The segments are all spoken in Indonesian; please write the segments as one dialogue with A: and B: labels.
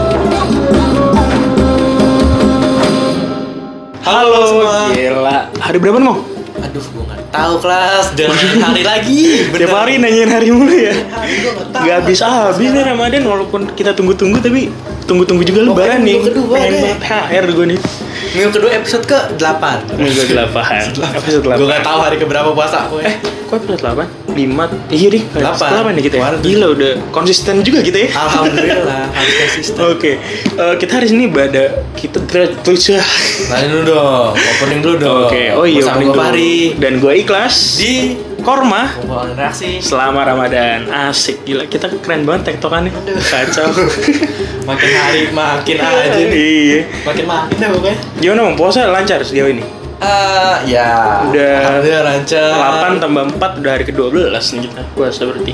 A: iya. Hari berapa nih, Mong?
B: Aduh, gue nggak tahu kelas. Jangan hari lagi. bener.
A: Tiap hari nanyain hari mulu ya.
B: Hari gua nggak tahu.
A: Gak habis ah, habis nih Ramadan walaupun kita tunggu-tunggu tapi tunggu-tunggu juga lebaran
B: minggu
A: nih.
B: kedua
A: Pengen
B: deh.
A: banget HR gue nih.
B: Minggu kedua episode ke 8
A: Minggu delapan.
B: Gue
A: Episode delapan.
B: nggak tahu hari keberapa puasa. pokoknya.
A: Eh, kok episode delapan? Lima? Iya deh.
B: Delapan.
A: Delapan nih kita. Ya?
B: Kemarin tuh.
A: Gila udah konsisten juga kita ya.
B: Alhamdulillah, harus konsisten.
A: Oke, eh, kita hari ini pada kita tertulis
B: Lain dulu dong, opening dulu dong.
A: Oh. Oke, oh iya,
B: Bersama
A: opening
B: gue
A: dulu.
B: Fahri
A: dan gue ikhlas
B: di
A: Korma.
B: kumpulan reaksi.
A: Selama Ramadan asik gila kita keren banget tektokannya kacau
B: Makin hari makin aja nih.
A: iya
B: Makin makin ya pokoknya.
A: gimana mau puasa lancar sejauh ini
B: Eh, ya.
A: Udah.
B: Alhamdulillah lancar.
A: 8 tambah 4 udah hari ke-12 nih kita puasa berarti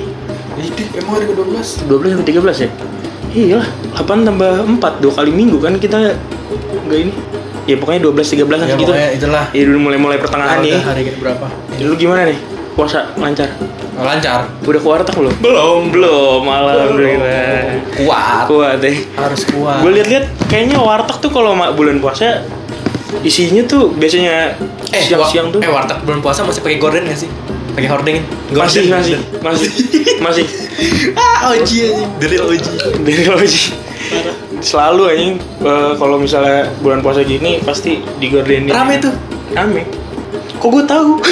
B: Ini emang hari ke-12.
A: 12 sampai 13 ya iyalah 8 tambah 4 dua kali minggu kan kita nggak ini ya pokoknya 12 13
B: Ya,
A: sampai gitu
B: pokoknya itulah.
A: ya dulu mulai-mulai pertengahan nih
B: Udah hari berapa?
A: dulu gimana nih puasa lancar
B: Oh, lancar.
A: udah keluar tak belum belum belum alhamdulillah
B: Kuat.
A: kuat deh
B: Harus kuat.
A: gue liat-liat kayaknya warteg tuh kalau ma- bulan puasa isinya tuh biasanya
B: Eh,
A: siang-siang
B: wa-
A: tuh
B: Eh, warteg bulan puasa masih pakai gorden gak sih? Pakai hordengin.
A: masih masih masih masih
B: Ah, oji anjing. Dari oji.
A: dari loji selalu anjing eh, kalau misalnya bulan puasa gini pasti digordenin
B: Rame tuh.
A: rame kok gue tahu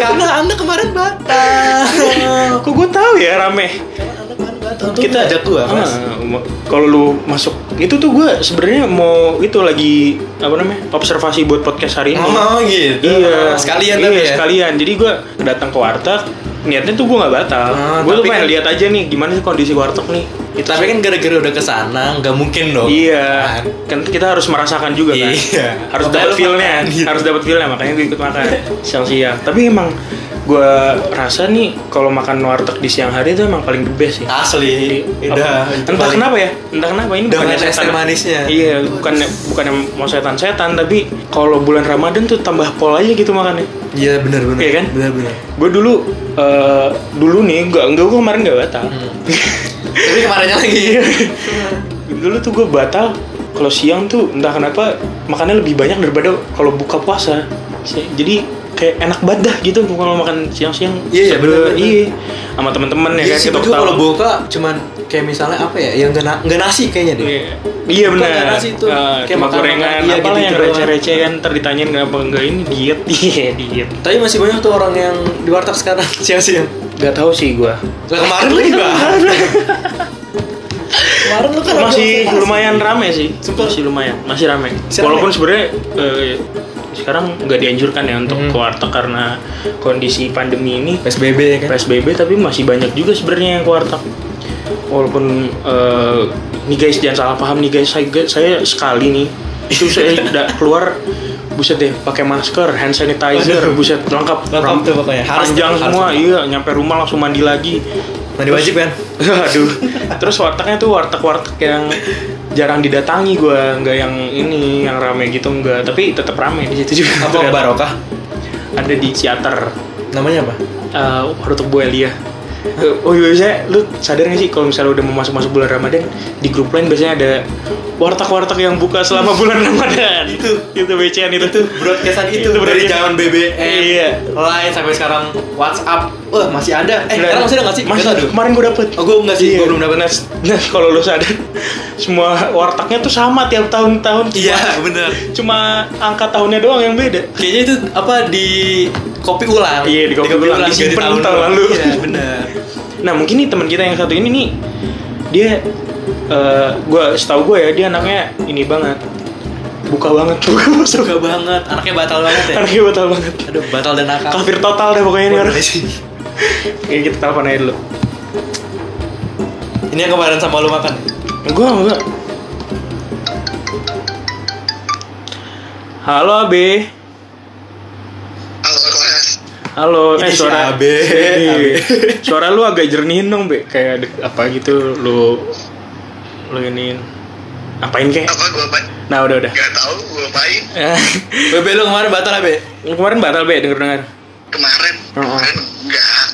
B: Karena Anda kemarin batal.
A: kok gue tahu ya rame
B: Kita ajak gua,
A: Ah,
B: Mas.
A: ma- kalau lu masuk itu tuh gue sebenarnya mau itu lagi apa namanya observasi buat podcast hari ini
B: Oh, gitu.
A: Iya,
B: Sekalian
A: iya,
B: tapi ya.
A: sekalian. Jadi gue datang ke warteg, niatnya tuh gue nggak batal.
B: Ah,
A: gue tuh
B: tapi
A: pengen
B: kan-
A: lihat aja nih gimana sih kondisi warteg nih. Itu
B: Tapi kan gara-gara udah ke sana, nggak mungkin dong.
A: Iya,
B: Kan?
A: kan kita harus merasakan juga kan.
B: Iya.
A: Harus
B: Makanya
A: dapat
B: lu
A: feel-nya, kan?
B: makan, gitu.
A: harus dapat feel-nya makanya gue ikut makan siang-siang. Tapi emang gue rasa nih kalau makan warteg di siang hari itu emang paling the best sih.
B: Nah, Asli. Iya. Udah.
A: Iya. Apa-
B: itu
A: entah
B: paling-
A: kenapa ya, entah kenapa ini
B: Dengan
A: bukannya
B: es teh manisnya.
A: Iya, bukan bukan yang mau setan-setan, tapi kalau bulan Ramadan tuh tambah pol aja gitu makannya.
B: Iya benar-benar.
A: Iya kan?
B: Benar-benar.
A: gue dulu eh, dulu nih nggak nggak gue kemarin nggak batal
B: Hmm. Tapi kemarinnya lagi.
A: Iya. dulu tuh gue batal kalau siang tuh entah kenapa makannya lebih banyak daripada kalau buka puasa Si- jadi kayak enak banget dah gitu kalau makan siang-siang
B: Iya, iya,
A: Seger,
B: bener-bener.
A: iya sama teman-teman ya
B: Iya
A: kan
B: sih,
A: kita
B: gue
A: ketawa.
B: kalau buka cuman kayak misalnya apa ya, yang nggak na- nggak nasi kayaknya deh.
A: Iya. Iya
B: Bukan
A: benar.
B: nasi tuh,
A: Ah,
B: kayak
A: cuma
B: makanan,
A: gorengan
B: iya,
A: apa
B: gitu-gitu
A: yang
B: doang.
A: receh-receh kan ntar ditanyain kenapa enggak ini diet iya diet
B: Tapi masih banyak tuh orang yang di warteg sekarang siang-siang.
A: Gak tahu sih gue
B: Lah kemarin lu di Bang. Kemarin lu kan
A: masih lumayan rame sih
B: Sumpah.
A: masih lumayan masih rame
B: Masih
A: walaupun
B: rame.
A: sebenarnya eh, sekarang nggak dianjurkan ya untuk
B: Hmm.
A: ke warteg karena kondisi pandemi ini
B: PSBB ya kan.
A: psbb tapi masih banyak juga sebenarnya yang ke warteg walaupun eh, nih guys jangan salah paham nih guys saya saya sekali nih itu saya udah keluar buset deh pakai masker hand sanitizer
B: Waduh.
A: buset lengkap
B: Lengkap
A: Ram-
B: tuh pokoknya. Harus
A: panjang
B: tuh, harus
A: semua
B: lengkap.
A: iya nyampe rumah langsung mandi lagi
B: Mandi wajib kan.
A: Aduh. Terus wartegnya tuh warteg-warteg yang jarang didatangi gua, nggak yang ini yang rame gitu enggak, tapi tetap rame di situ Iya, juga.
B: Apa
A: ternyata.
B: barokah?
A: Ada di teater
B: Namanya apa?
A: eh warteg Bu Elia. Eh, Oh iya, saya, lu sadar gak sih kalau misalnya udah mau masuk-masuk bulan Ramadan di grup lain biasanya ada warteg-warteg yang buka selama bulan Ramadan. itu, itu BCN itu.
B: Itu broadcastan itu,
A: Itu
B: dari
A: broadcast.
B: zaman BBM,
A: Iya.
B: Line sampai sekarang WhatsApp. Wah, masih ada. Eh, sekarang masih ada enggak sih?
A: Masih
B: Nggak tahu deh.
A: Kemarin gua dapet.
B: Oh, gue enggak sih,
A: Iya.
B: gue belum dapat.
A: Nah, nah, kalau lu sadar, semua wartegnya tuh sama tiap tahun-tahun.
B: Iya, bener.
A: cuma angka tahunnya doang yang beda
B: Kayaknya itu apa di kopi ulang.
A: Iya, di kopi ulang,
B: jadi
A: disimpan
B: tahun
A: tahun lalu.
B: Iya, benar.
A: nah mungkin nih teman kita yang satu ini nih dia eh gua setahu gue ya dia anaknya ini banget buka banget buka masuk
B: Suka banget, anaknya batal banget ya.
A: anaknya batal banget
B: Aduh, batal dan nakal.
A: kafir total deh pokoknya ini
B: Waduh,
A: orang ya, kita telepon aja dulu
B: Ini yang kemarin sama lu makan.
A: gua enggak halo Abe
C: Halo kelas.
A: Halo,
B: Ini
A: eh
B: si
A: suara
B: Abe.
A: Ini.
B: Abe.
A: Suara lu agak jernihin dong, Be. Kayak ada- apa gitu lu lu iniin. Apain kek?
C: Apa gua apa?
A: Nah, udah udah.
C: Gak tau gua apain.
A: Eh,
B: Bebe lu kemarin batal ya, apa?
A: lu kemarin batal, Be, denger dengar.
C: Kemarin.
A: Oh, oh.
C: Kemarin enggak.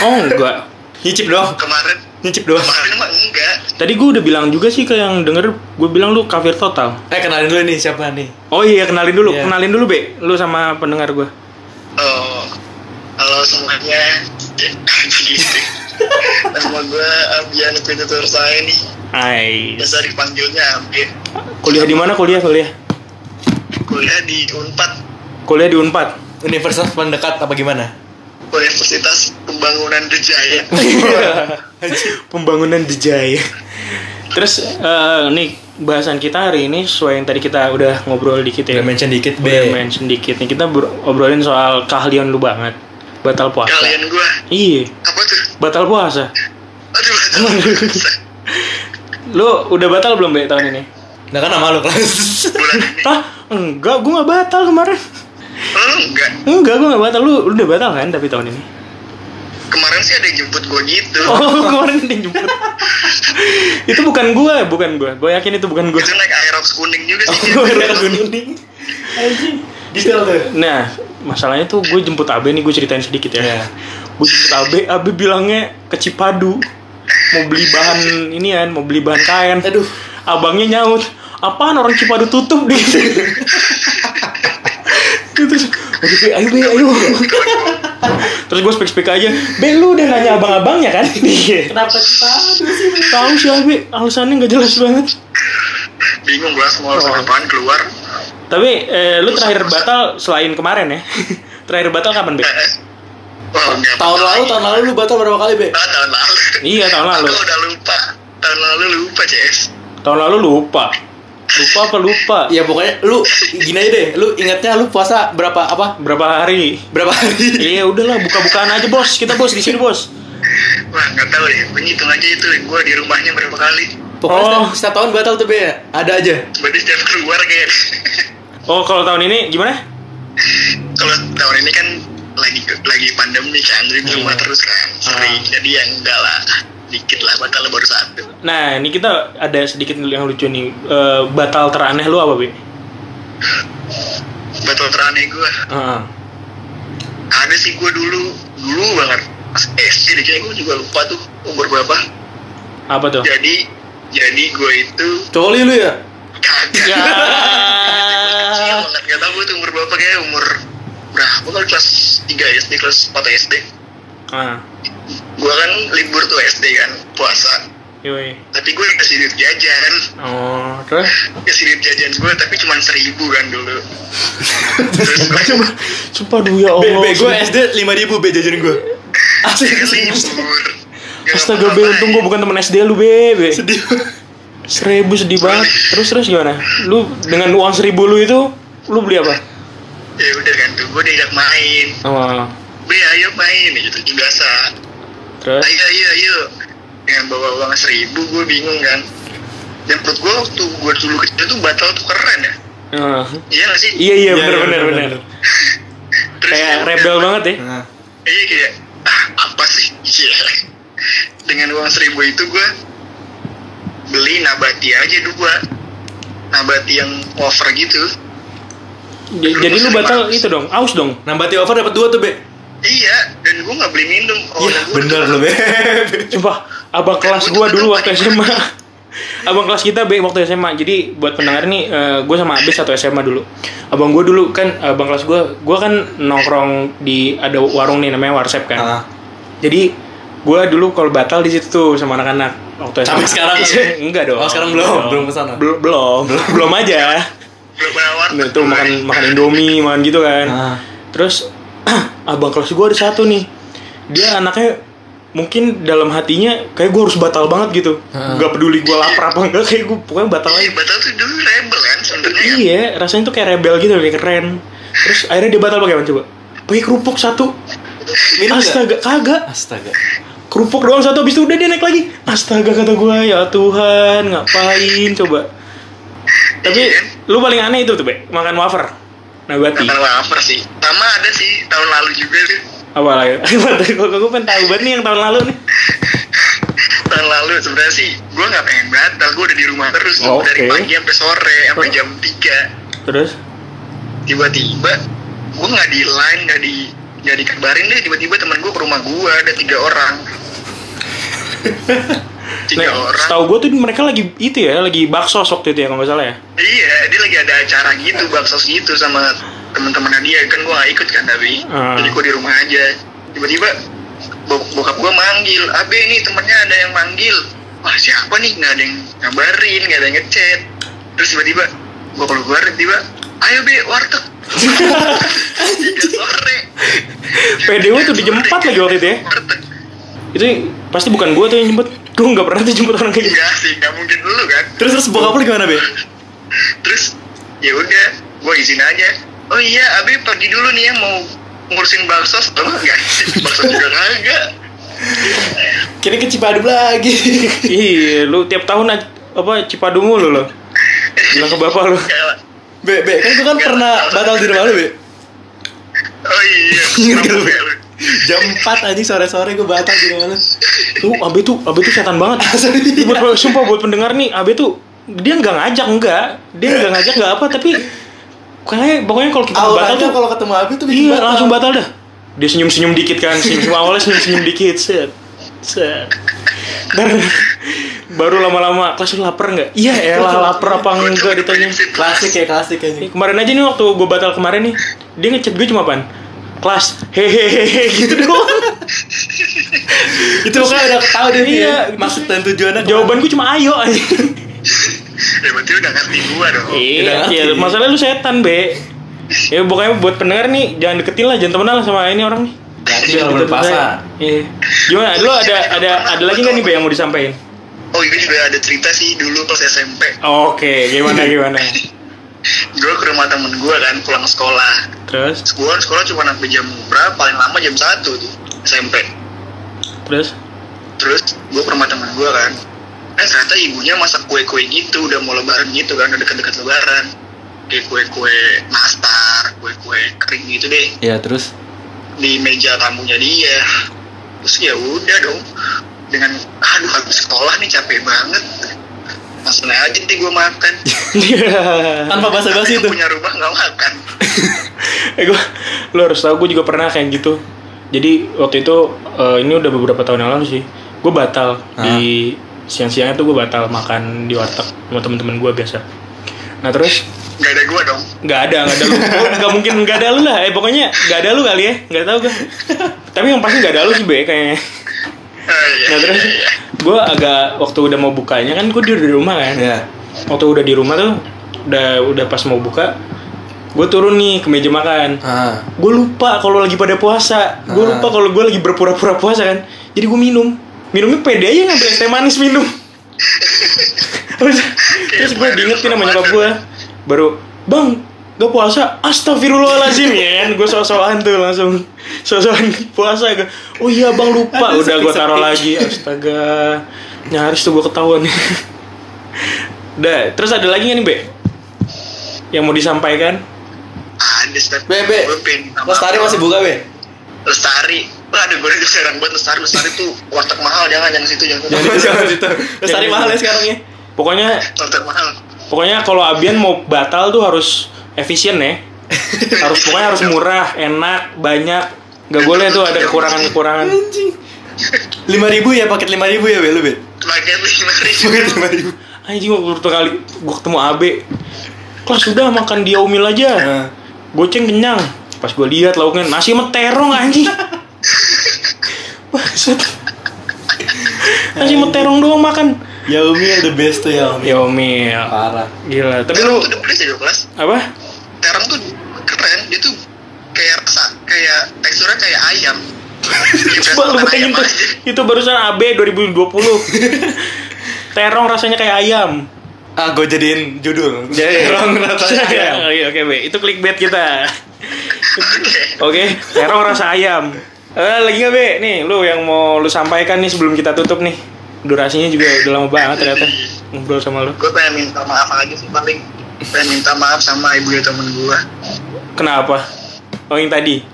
A: Oh, enggak.
B: Nyicip dong.
C: Kemarin.
B: Nyicip dong.
C: Kemarin mah enggak.
A: Tadi gue udah bilang juga sih ke yang denger, gue bilang lu kafir total.
B: Eh kenalin dulu nih siapa nih?
A: Oh iya, kenalin dulu,
B: Iya.
A: kenalin dulu, Be. Lu sama pendengar gue.
C: Oh, semuanya gitu. Nama eh, gue Abian Tutur saya nih
A: Hai.
C: Biasa dipanggilnya Abi
A: Kuliah di mana kuliah kuliah?
C: Kuliah di UNPAD
A: Kuliah di Unpad.
B: Universitas pendekat apa gimana?
C: Universitas Pembangunan Dejaya
A: Pembangunan Dijaya. Terus eh, nih bahasan kita hari ini sesuai yang tadi kita udah ngobrol dikit ya.
B: Udah mention dikit be.
A: Udah mention dikit nih kita ber- obrolin soal keahlian lu banget. Batal puasa.
C: Kalian gue
A: Iya,
C: Apa tuh?
A: batal puasa.
C: Aduh aduh.
A: Lu udah batal belum Be tahun ini?
B: Nah kan sama lu kelas.
C: Bulan ini
A: Tah, enggak, gua nggak batal kemarin.
C: Oh enggak
A: Enggak, gua nggak batal. Lu, lu udah batal kan tapi tahun ini?
C: Kemarin sih ada yang jemput gue gitu
A: Oh, kemarin dia jemput. itu bukan gua, bukan gua. Gua yakin itu bukan gua.
C: Itu naik Aerox kuning juga
A: Oh,
C: sih
A: gua merah kuning.
B: Detail tuh.
A: Nah, masalahnya tuh gue jemput Abe nih, gue ceritain sedikit ya.
B: Iya.
A: Gue jemput Abe, Abe bilangnya ke Cipadu. Mau beli bahan inian, mau beli bahan kain.
B: Aduh.
A: Abangnya nyaut, apaan orang Cipadu tutup deh. Terus, aduh, Be, ayo, Be, ayo. Terus gue spek-spek aja, Be, lu udah nanya abang-abangnya kan? Iya.
D: Kenapa kita sih?
A: Tahu sih Abe, alasannya nggak jelas banget.
C: Bingung gue
B: Oh.
C: mau alasan apaan keluar
A: Tapi eh, lu terakhir batal selain kemarin ya? terakhir batal kapan, Be?
C: Eh, Wah, nggak
B: Tahun
C: apa-apa.
B: lalu tahun lalu lu batal berapa kali be?
C: Ah, tahun lalu.
A: Iya, tahun lalu.
C: Aku udah lupa. Tahun lalu lupa, CS.
A: Tahun lalu lupa. Lupa apa lupa?
B: Ya pokoknya lu gini aja deh. Lu ingatnya lu puasa berapa apa?
A: Berapa hari?
B: Berapa hari?
A: Iya udahlah buka-bukaan aja bos. Kita bos di sini bos.
C: Wah, nggak tahu ya. Gue ngitung aja itu gue di rumahnya berapa kali.
B: Pokoknya
A: Oh.
B: setiap, setiap tahun batal tuh be.
D: ya?
B: Ada aja.
C: Berarti setiap keluar kayak.
A: Oh kalau tahun ini gimana?
C: Kalau tahun ini kan lagi lagi pandemi kan, jadi di
B: Iya.
C: rumah terus
B: Ah.
C: kan. Sering. Jadi yang enggak lah. Dikit lah, batal baru satu.
A: Nah ini kita ada sedikit yang lucu nih. Eh, batal teraneh lu apa bi?
C: Batal teraneh gue.
A: Heeh.
C: Ada sih gue dulu, dulu banget. Pas SD deh, kayaknya gue juga lupa tuh umur berapa.
A: Apa tuh?
C: Jadi, jadi gue itu
B: Coli lu ya?
C: kagak. Iya,
A: Ya.
C: kecil banget nggak tahu gue tuh umur berapa kayak umur berapa kali kelas 3 SD kelas 4 SD
A: Ah,
C: gue kan libur tuh SD kan puasa
A: yoi.
C: tapi gue kasih duit jajan
A: Oh terus?
C: kasih duit jajan gue tapi cuma seribu kan dulu terus gue cuma
A: Sumpah duh ya
B: Be,
A: Allah.
B: be gue SD lima ribu be jajan gue. Asli
C: libur Nggak
A: Astaga
C: ngapa-ngapain.
A: be, untung gue bukan teman SD lu be, be.
B: sedih.
A: Seribu sedih banget. Terus terus gimana? Lu dengan uang seribu lu itu, lu beli apa?
C: ya udah kan tuh gue diajak main
A: Oh,
C: be ayo main gitu Yang biasa
A: terus?
C: ayo ayo ayo dengan bawa uang seribu gue bingung kan dan menurut gue waktu gue dulu kecil tuh batal tuh keren ya
A: Ah.
C: iya gak sih
A: Iya iya
B: Iya,
A: benar
B: iya,
A: benar
B: bener,
A: benar.
B: bener.
C: Terus
A: Kayak
C: ya
A: rebel
C: udah,
A: banget ya.
B: Nah.
C: iya kayak ah apa sih Iya. dengan uang seribu itu gue beli nabati aja dua nabati yang over gitu
A: J- Jadi lu batal itu dong, aus dong.
B: Nambati over dapat dua tuh be.
C: iya dan gue nggak beli minum oh
B: Iya bener lu be.
A: Coba abang kelas gua dulu waktu SMA. Abang kelas kita be waktu SMA. Jadi buat pendengar nih, eh, gua sama Abi satu SMA dulu. Abang gua dulu kan abang kelas gua, gua kan nongkrong di ada warung nih namanya Warsep kan.
B: Ah.
A: Jadi gua dulu kalau batal di situ tuh sama anak-anak waktu SMA.
B: Sampai sekarang?
A: enggak dong.
B: Oh, sekarang belum, belum kesana.
A: Belum belum belum aja.
C: belum nawar
A: Nah, itu makan makan Indomie, makan gitu kan.
B: Ah.
A: Terus abang kelas gue ada satu nih. Dia anaknya mungkin dalam hatinya kayak gue harus batal banget gitu.
B: Heeh.
A: Gak peduli gue lapar apa enggak, kayak gue pokoknya batal aja.
C: Iya, batal tuh dulu rebel kan sebenarnya ya.
A: Iya, rasanya tuh kayak rebel gitu, kayak keren. Terus akhirnya dia batal pakai apa coba? Pakai kerupuk satu.
B: Minum nggak?
A: Astaga, kagak.
B: Astaga.
A: Kerupuk doang satu, habis itu udah dia naik lagi. Astaga kata gue, ya Tuhan, ngapain coba? Tapi lu paling aneh itu tuh, Be. Makan wafer. Nah, berarti.
C: Bukan wafer sih sama ada sih tahun lalu juga tuh
A: apa lagi? Gue gue pengen tahu banget nih yang tahun lalu nih.
C: tahun lalu sebenarnya sih gue nggak pengen batal gue udah di rumah terus tuh,
A: Oh, Oke.
C: dari pagi sampai sore sampai jam 3
A: Terus?
C: tiba-tiba gue nggak di line nggak di nggak dikabarin deh tiba-tiba temen gue ke rumah gue ada tiga orang tiga
A: Nah,
C: orang
A: setahu gue tuh mereka lagi itu ya, lagi bakso waktu itu ya kalau nggak salah ya.
C: iya dia lagi ada acara gitu baksos gitu sama temen-temennya dia kan gue gak ikut kan tapi
A: Ah.
C: jadi gue di rumah aja tiba-tiba bo- bokap gue manggil abe nih temennya ada yang manggil wah siapa nih nggak ada yang ngabarin nggak ada yang ngechat terus tiba-tiba gue keluar tiba ayo be warteg tiga sore
A: PDW tuh dijempat lagi waktu itu ya.
C: warteg
A: Itu pasti bukan gua tuh yang jemput. Gua nggak pernah tuh jemput orang kayak gitu.
C: enggak Iya sih nggak mungkin dulu kan
D: Terus terus bokap lu gimana, Be?
C: terus ya udah gue izin aja oh iya abi pergi dulu nih ya mau ngurusin bakso tau nggak bakso juga kagak
D: Kira ke Cipadub lagi.
A: Iya, lu tiap tahun aj- apa Cipadung lu lo. Bilang ke bapak lu.
C: Kayak,
D: Be, Be, kan itu kan
C: Gak.
D: pernah batal di rumah lu, Be.
C: oh iya
D: Ingat
C: Kenapa
D: gak lu?
C: nggak lu?
D: Jam 4 anjing sore-sore gue batal di rumah lu.
A: Tuh, Abe tuh, Abe tuh setan banget.
D: Asli.
A: Buat, sumpah buat pendengar nih, Abe tuh dia nggak ngajak enggak, dia nggak ngajak nggak apa, tapi kayak pokoknya kalau kita batal
D: Awalnya
A: tuh,
D: kalau ketemu Abi tuh bikin
A: iya langsung batal dah. Dia senyum senyum dikit kan, senyum senyum awalnya senyum senyum dikit, set, set. Baru, baru lama-lama kelas lu lapar nggak? Iya, elah lapar apa
C: Gua coba
A: enggak ditanya.
C: diprediksi.
D: Klasik ya, klasik anjing.
A: Nih, Kemarin aja nih waktu gue batal kemarin nih, dia ngechat gue cuma pan kelas hehehehe gitu doang.
D: itu mukanya udah ketahui dia
A: Iya,
D: iya,
A: gitu.
D: maksud dan tujuannya Ya,
A: Jawaban gue cuma ayo aja.
C: ya berarti udah ngerti gua dong
D: Tidak
A: Iya,
D: ngerti.
A: iya, masalahnya lu setan, Be. Ya pokoknya buat pendengar nih jangan deketin lah, jangan temenan lah sama ini orang nih.
D: berarti
A: Jangan
D: kalau
A: deket-
D: berpasang
A: Iya. Gimana? Lu ada ada ada lagi nggak nih, Be, yang mau disampaikan?
C: oh itu juga ada cerita sih dulu pas SMP
A: Oke, gimana gimana?
C: gua ke rumah temen gua kan pulang sekolah
A: Terus,
C: sekolah sekolah cuma sampai jam berapa paling lama jam satu tuh SMP
A: terus.
C: terus gue ke rumah teman gue kan eh ternyata ibunya masak kue-kue gitu udah mau lebaran gitu kan udah deket-deket lebaran kayak kue-kue nastar kue-kue kering gitu deh
D: ya terus
C: di meja tamunya dia terus ya udah dong dengan aduh habis sekolah nih capek banget langsung aja deh gue makan
D: tanpa basa-basi
C: Yang
D: itu
C: punya rumah nggak makan
A: eh gua lu harus tahu gue juga pernah kayak gitu jadi waktu itu eh, ini udah beberapa tahun yang lalu sih gue batal
D: Ah.
A: di siang-siangnya tuh gue batal makan di warteg sama temen-temen gue biasa nah terus
C: nggak ada gue dong
A: nggak ada nggak ada lu Gua nggak mungkin nggak ada lu lah eh pokoknya nggak ada lu kali ya nggak tahu gue tapi yang pasti nggak ada lu sih be kayaknya
C: Eh, iya,
A: nah terus
C: iya, iya.
A: gue agak waktu udah mau bukanya kan gue di di rumah kan
D: ya
A: waktu udah di rumah tuh udah udah pas mau buka gue turun nih ke meja makan
D: ah
A: gue lupa kalau lagi pada puasa gue
D: Ah.
A: lupa kalau gue lagi berpura-pura puasa kan jadi gue minum minumnya pede aja ngambil es teh manis minum terus, terus gue diingetin sama nyokap gue baru bang gak puasa astagfirullahaladzim ya gue sosokan tuh langsung sosokan puasa gue oh iya bang lupa
D: Aduh,
A: udah gue taruh lagi
D: sepi-sepi.
A: astaga nyaris tuh gue ketahuan Udah, terus ada lagi nggak nih Be? Yang mau disampaikan?
C: ada step
D: bebe
C: Gua pengen nambah-
D: lestari masih buka be
C: lestari Wah, aduh gue udah jarang banget lestari lestari tuh warteg mahal jangan jangan situ jangan
D: jangan itu lestari mahal ya sekarang ya
A: Pokoknya
C: warteg mahal
A: Pokoknya kalau Abian mau batal tuh harus efisien ya. Harus pokoknya harus murah, enak, banyak. Gak boleh tuh ada kekurangan-kekurangan.
D: anjing lima ribu ya paket lima ribu ya be lu be
C: paket lima ribu
D: paket lima ribu
A: Anjing gua pertama kali gua ketemu Abe. Kelas sudah makan dia umil aja.
D: Ah.
A: Goceng kenyang. Pas gua lihat lauknya nasi sama terong anjing. Bangsat. Nasi sama terong doang makan.
D: ya umi the best tuh ya umi
A: Ya omil.
D: parah
A: Gila, tapi
C: terang
A: lu
C: tuh the best ya kelas
A: apa?
C: terang tuh keren dia tuh kayak rasa kayak teksturnya kayak ayam Kayak berasa
A: Coba lu
C: makan
A: bayangin
C: ayam
A: tuh.
C: aja.
A: Itu barusan AB 2020. terong rasanya kayak ayam.
D: ah gue jadiin judul
C: Ya,
A: Jadi
D: Terong rasanya ayam.
A: Oke, Iya. Oh, oke, Be. Itu clickbait kita.
C: oke
A: Oke, terong rasa ayam. Eh, lagi nggak, Be? Nih, lu yang mau lu sampaikan nih sebelum kita tutup nih. Durasinya juga udah lama banget ternyata ngobrol sama lu.
C: gue pengen minta maaf aja sih paling pengen minta maaf sama ibu temen gue
A: Kenapa? Oh, yang tadi.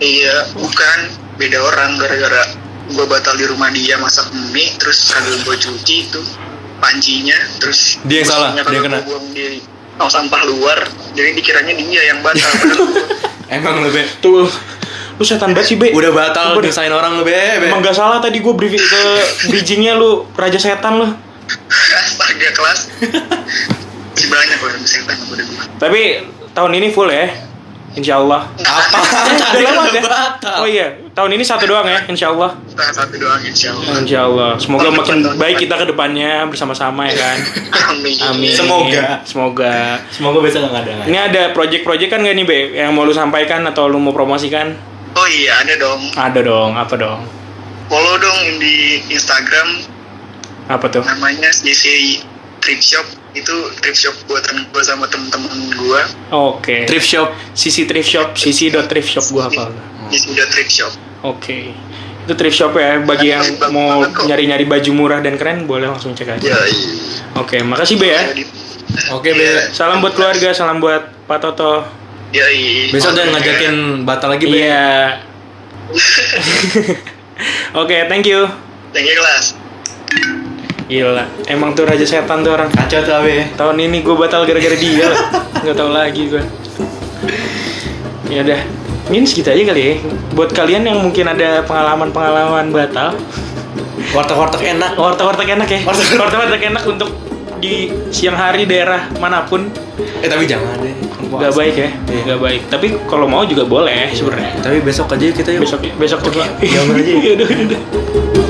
C: iya bukan beda orang gara-gara gue batal di rumah dia masak mie terus sambil gue cuci itu pancinya terus
D: Dia yang salah,
C: mesinnya
D: dia
C: kalau
D: kena.
C: gua buang di tong sampah luar jadi dikiranya dia yang batal padahal gua-
D: emang lu be
A: Tuh. Lu setan banget sih, Be.
D: udah batal
A: Udah.
D: desain orang lu be Be.
A: Emang nggak salah tadi gua briefing ke bridgingnya lu raja setan lu.
C: astaga kelas masih banyak loh yang bisa ditanya pada gue
A: Tapi tahun ini full ya. Insyaallah.
D: apa
A: Udah lama
D: udah
A: ya?
D: batal
A: Oh iya, Tahun ini satu doang ya, insya Allah.
C: Kita satu doang insya Allah.
A: Insya Allah. Semoga makin baik kita ke depannya bersama-sama ya kan.
C: Amin.
A: Amin.
D: Semoga.
A: Semoga.
D: Semoga besok nggak ada lagi.
A: Ini ada project-project kan gak nih, Be? Yang mau lu sampaikan atau lu mau promosikan?
C: Oh iya ada dong.
A: Ada dong, apa dong?
C: Follow dong di Instagram
A: Apa tuh?
C: namanya JCI Trip Shop. Itu trip shop buatan gue sama temen-temen gue.
A: Oke.
D: Thrift shop.
A: Sisi thrift shop, sisi dot thrift shop gua hafal.
C: JCI udah Trip Shop.
A: Oke. Itu thrift shop ya bagi yang mau nyari-nyari baju murah dan keren boleh langsung cek aja.
D: Iya.
C: Ya.
A: Oke, makasih Be ya.
D: Eh? Oke, Be.
A: Salam buat keluarga, salam buat Pak Toto.
C: Ya,
D: Besok jangan ngajakin batal lagi, Be.
A: Iya. Oke, thank you.
C: Thank you kelas.
A: Gila, emang tuh raja setan tuh orang.
D: Kacau tuh, Be.
A: Tahun ini gue batal gara-gara dia lah. Nggak tahu lagi gue. Ya udah, ini segitu aja kali ya. Buat kalian yang mungkin ada pengalaman-pengalaman batal,
D: Warteg-warteg enak.
A: warteg-warteg enak ya.
D: Warteg-
A: Warteg-warteg enak untuk di siang hari daerah manapun
D: Eh, tapi jangan deh. Kan puasa.
A: nggak baik ya,
D: Iya.
A: nggak baik. Tapi kalau mau juga boleh sebenarnya.
D: Tapi besok aja kita yuk.
A: Besok besok coba.
D: Iya, bener aja.
A: Iya, udah, udah.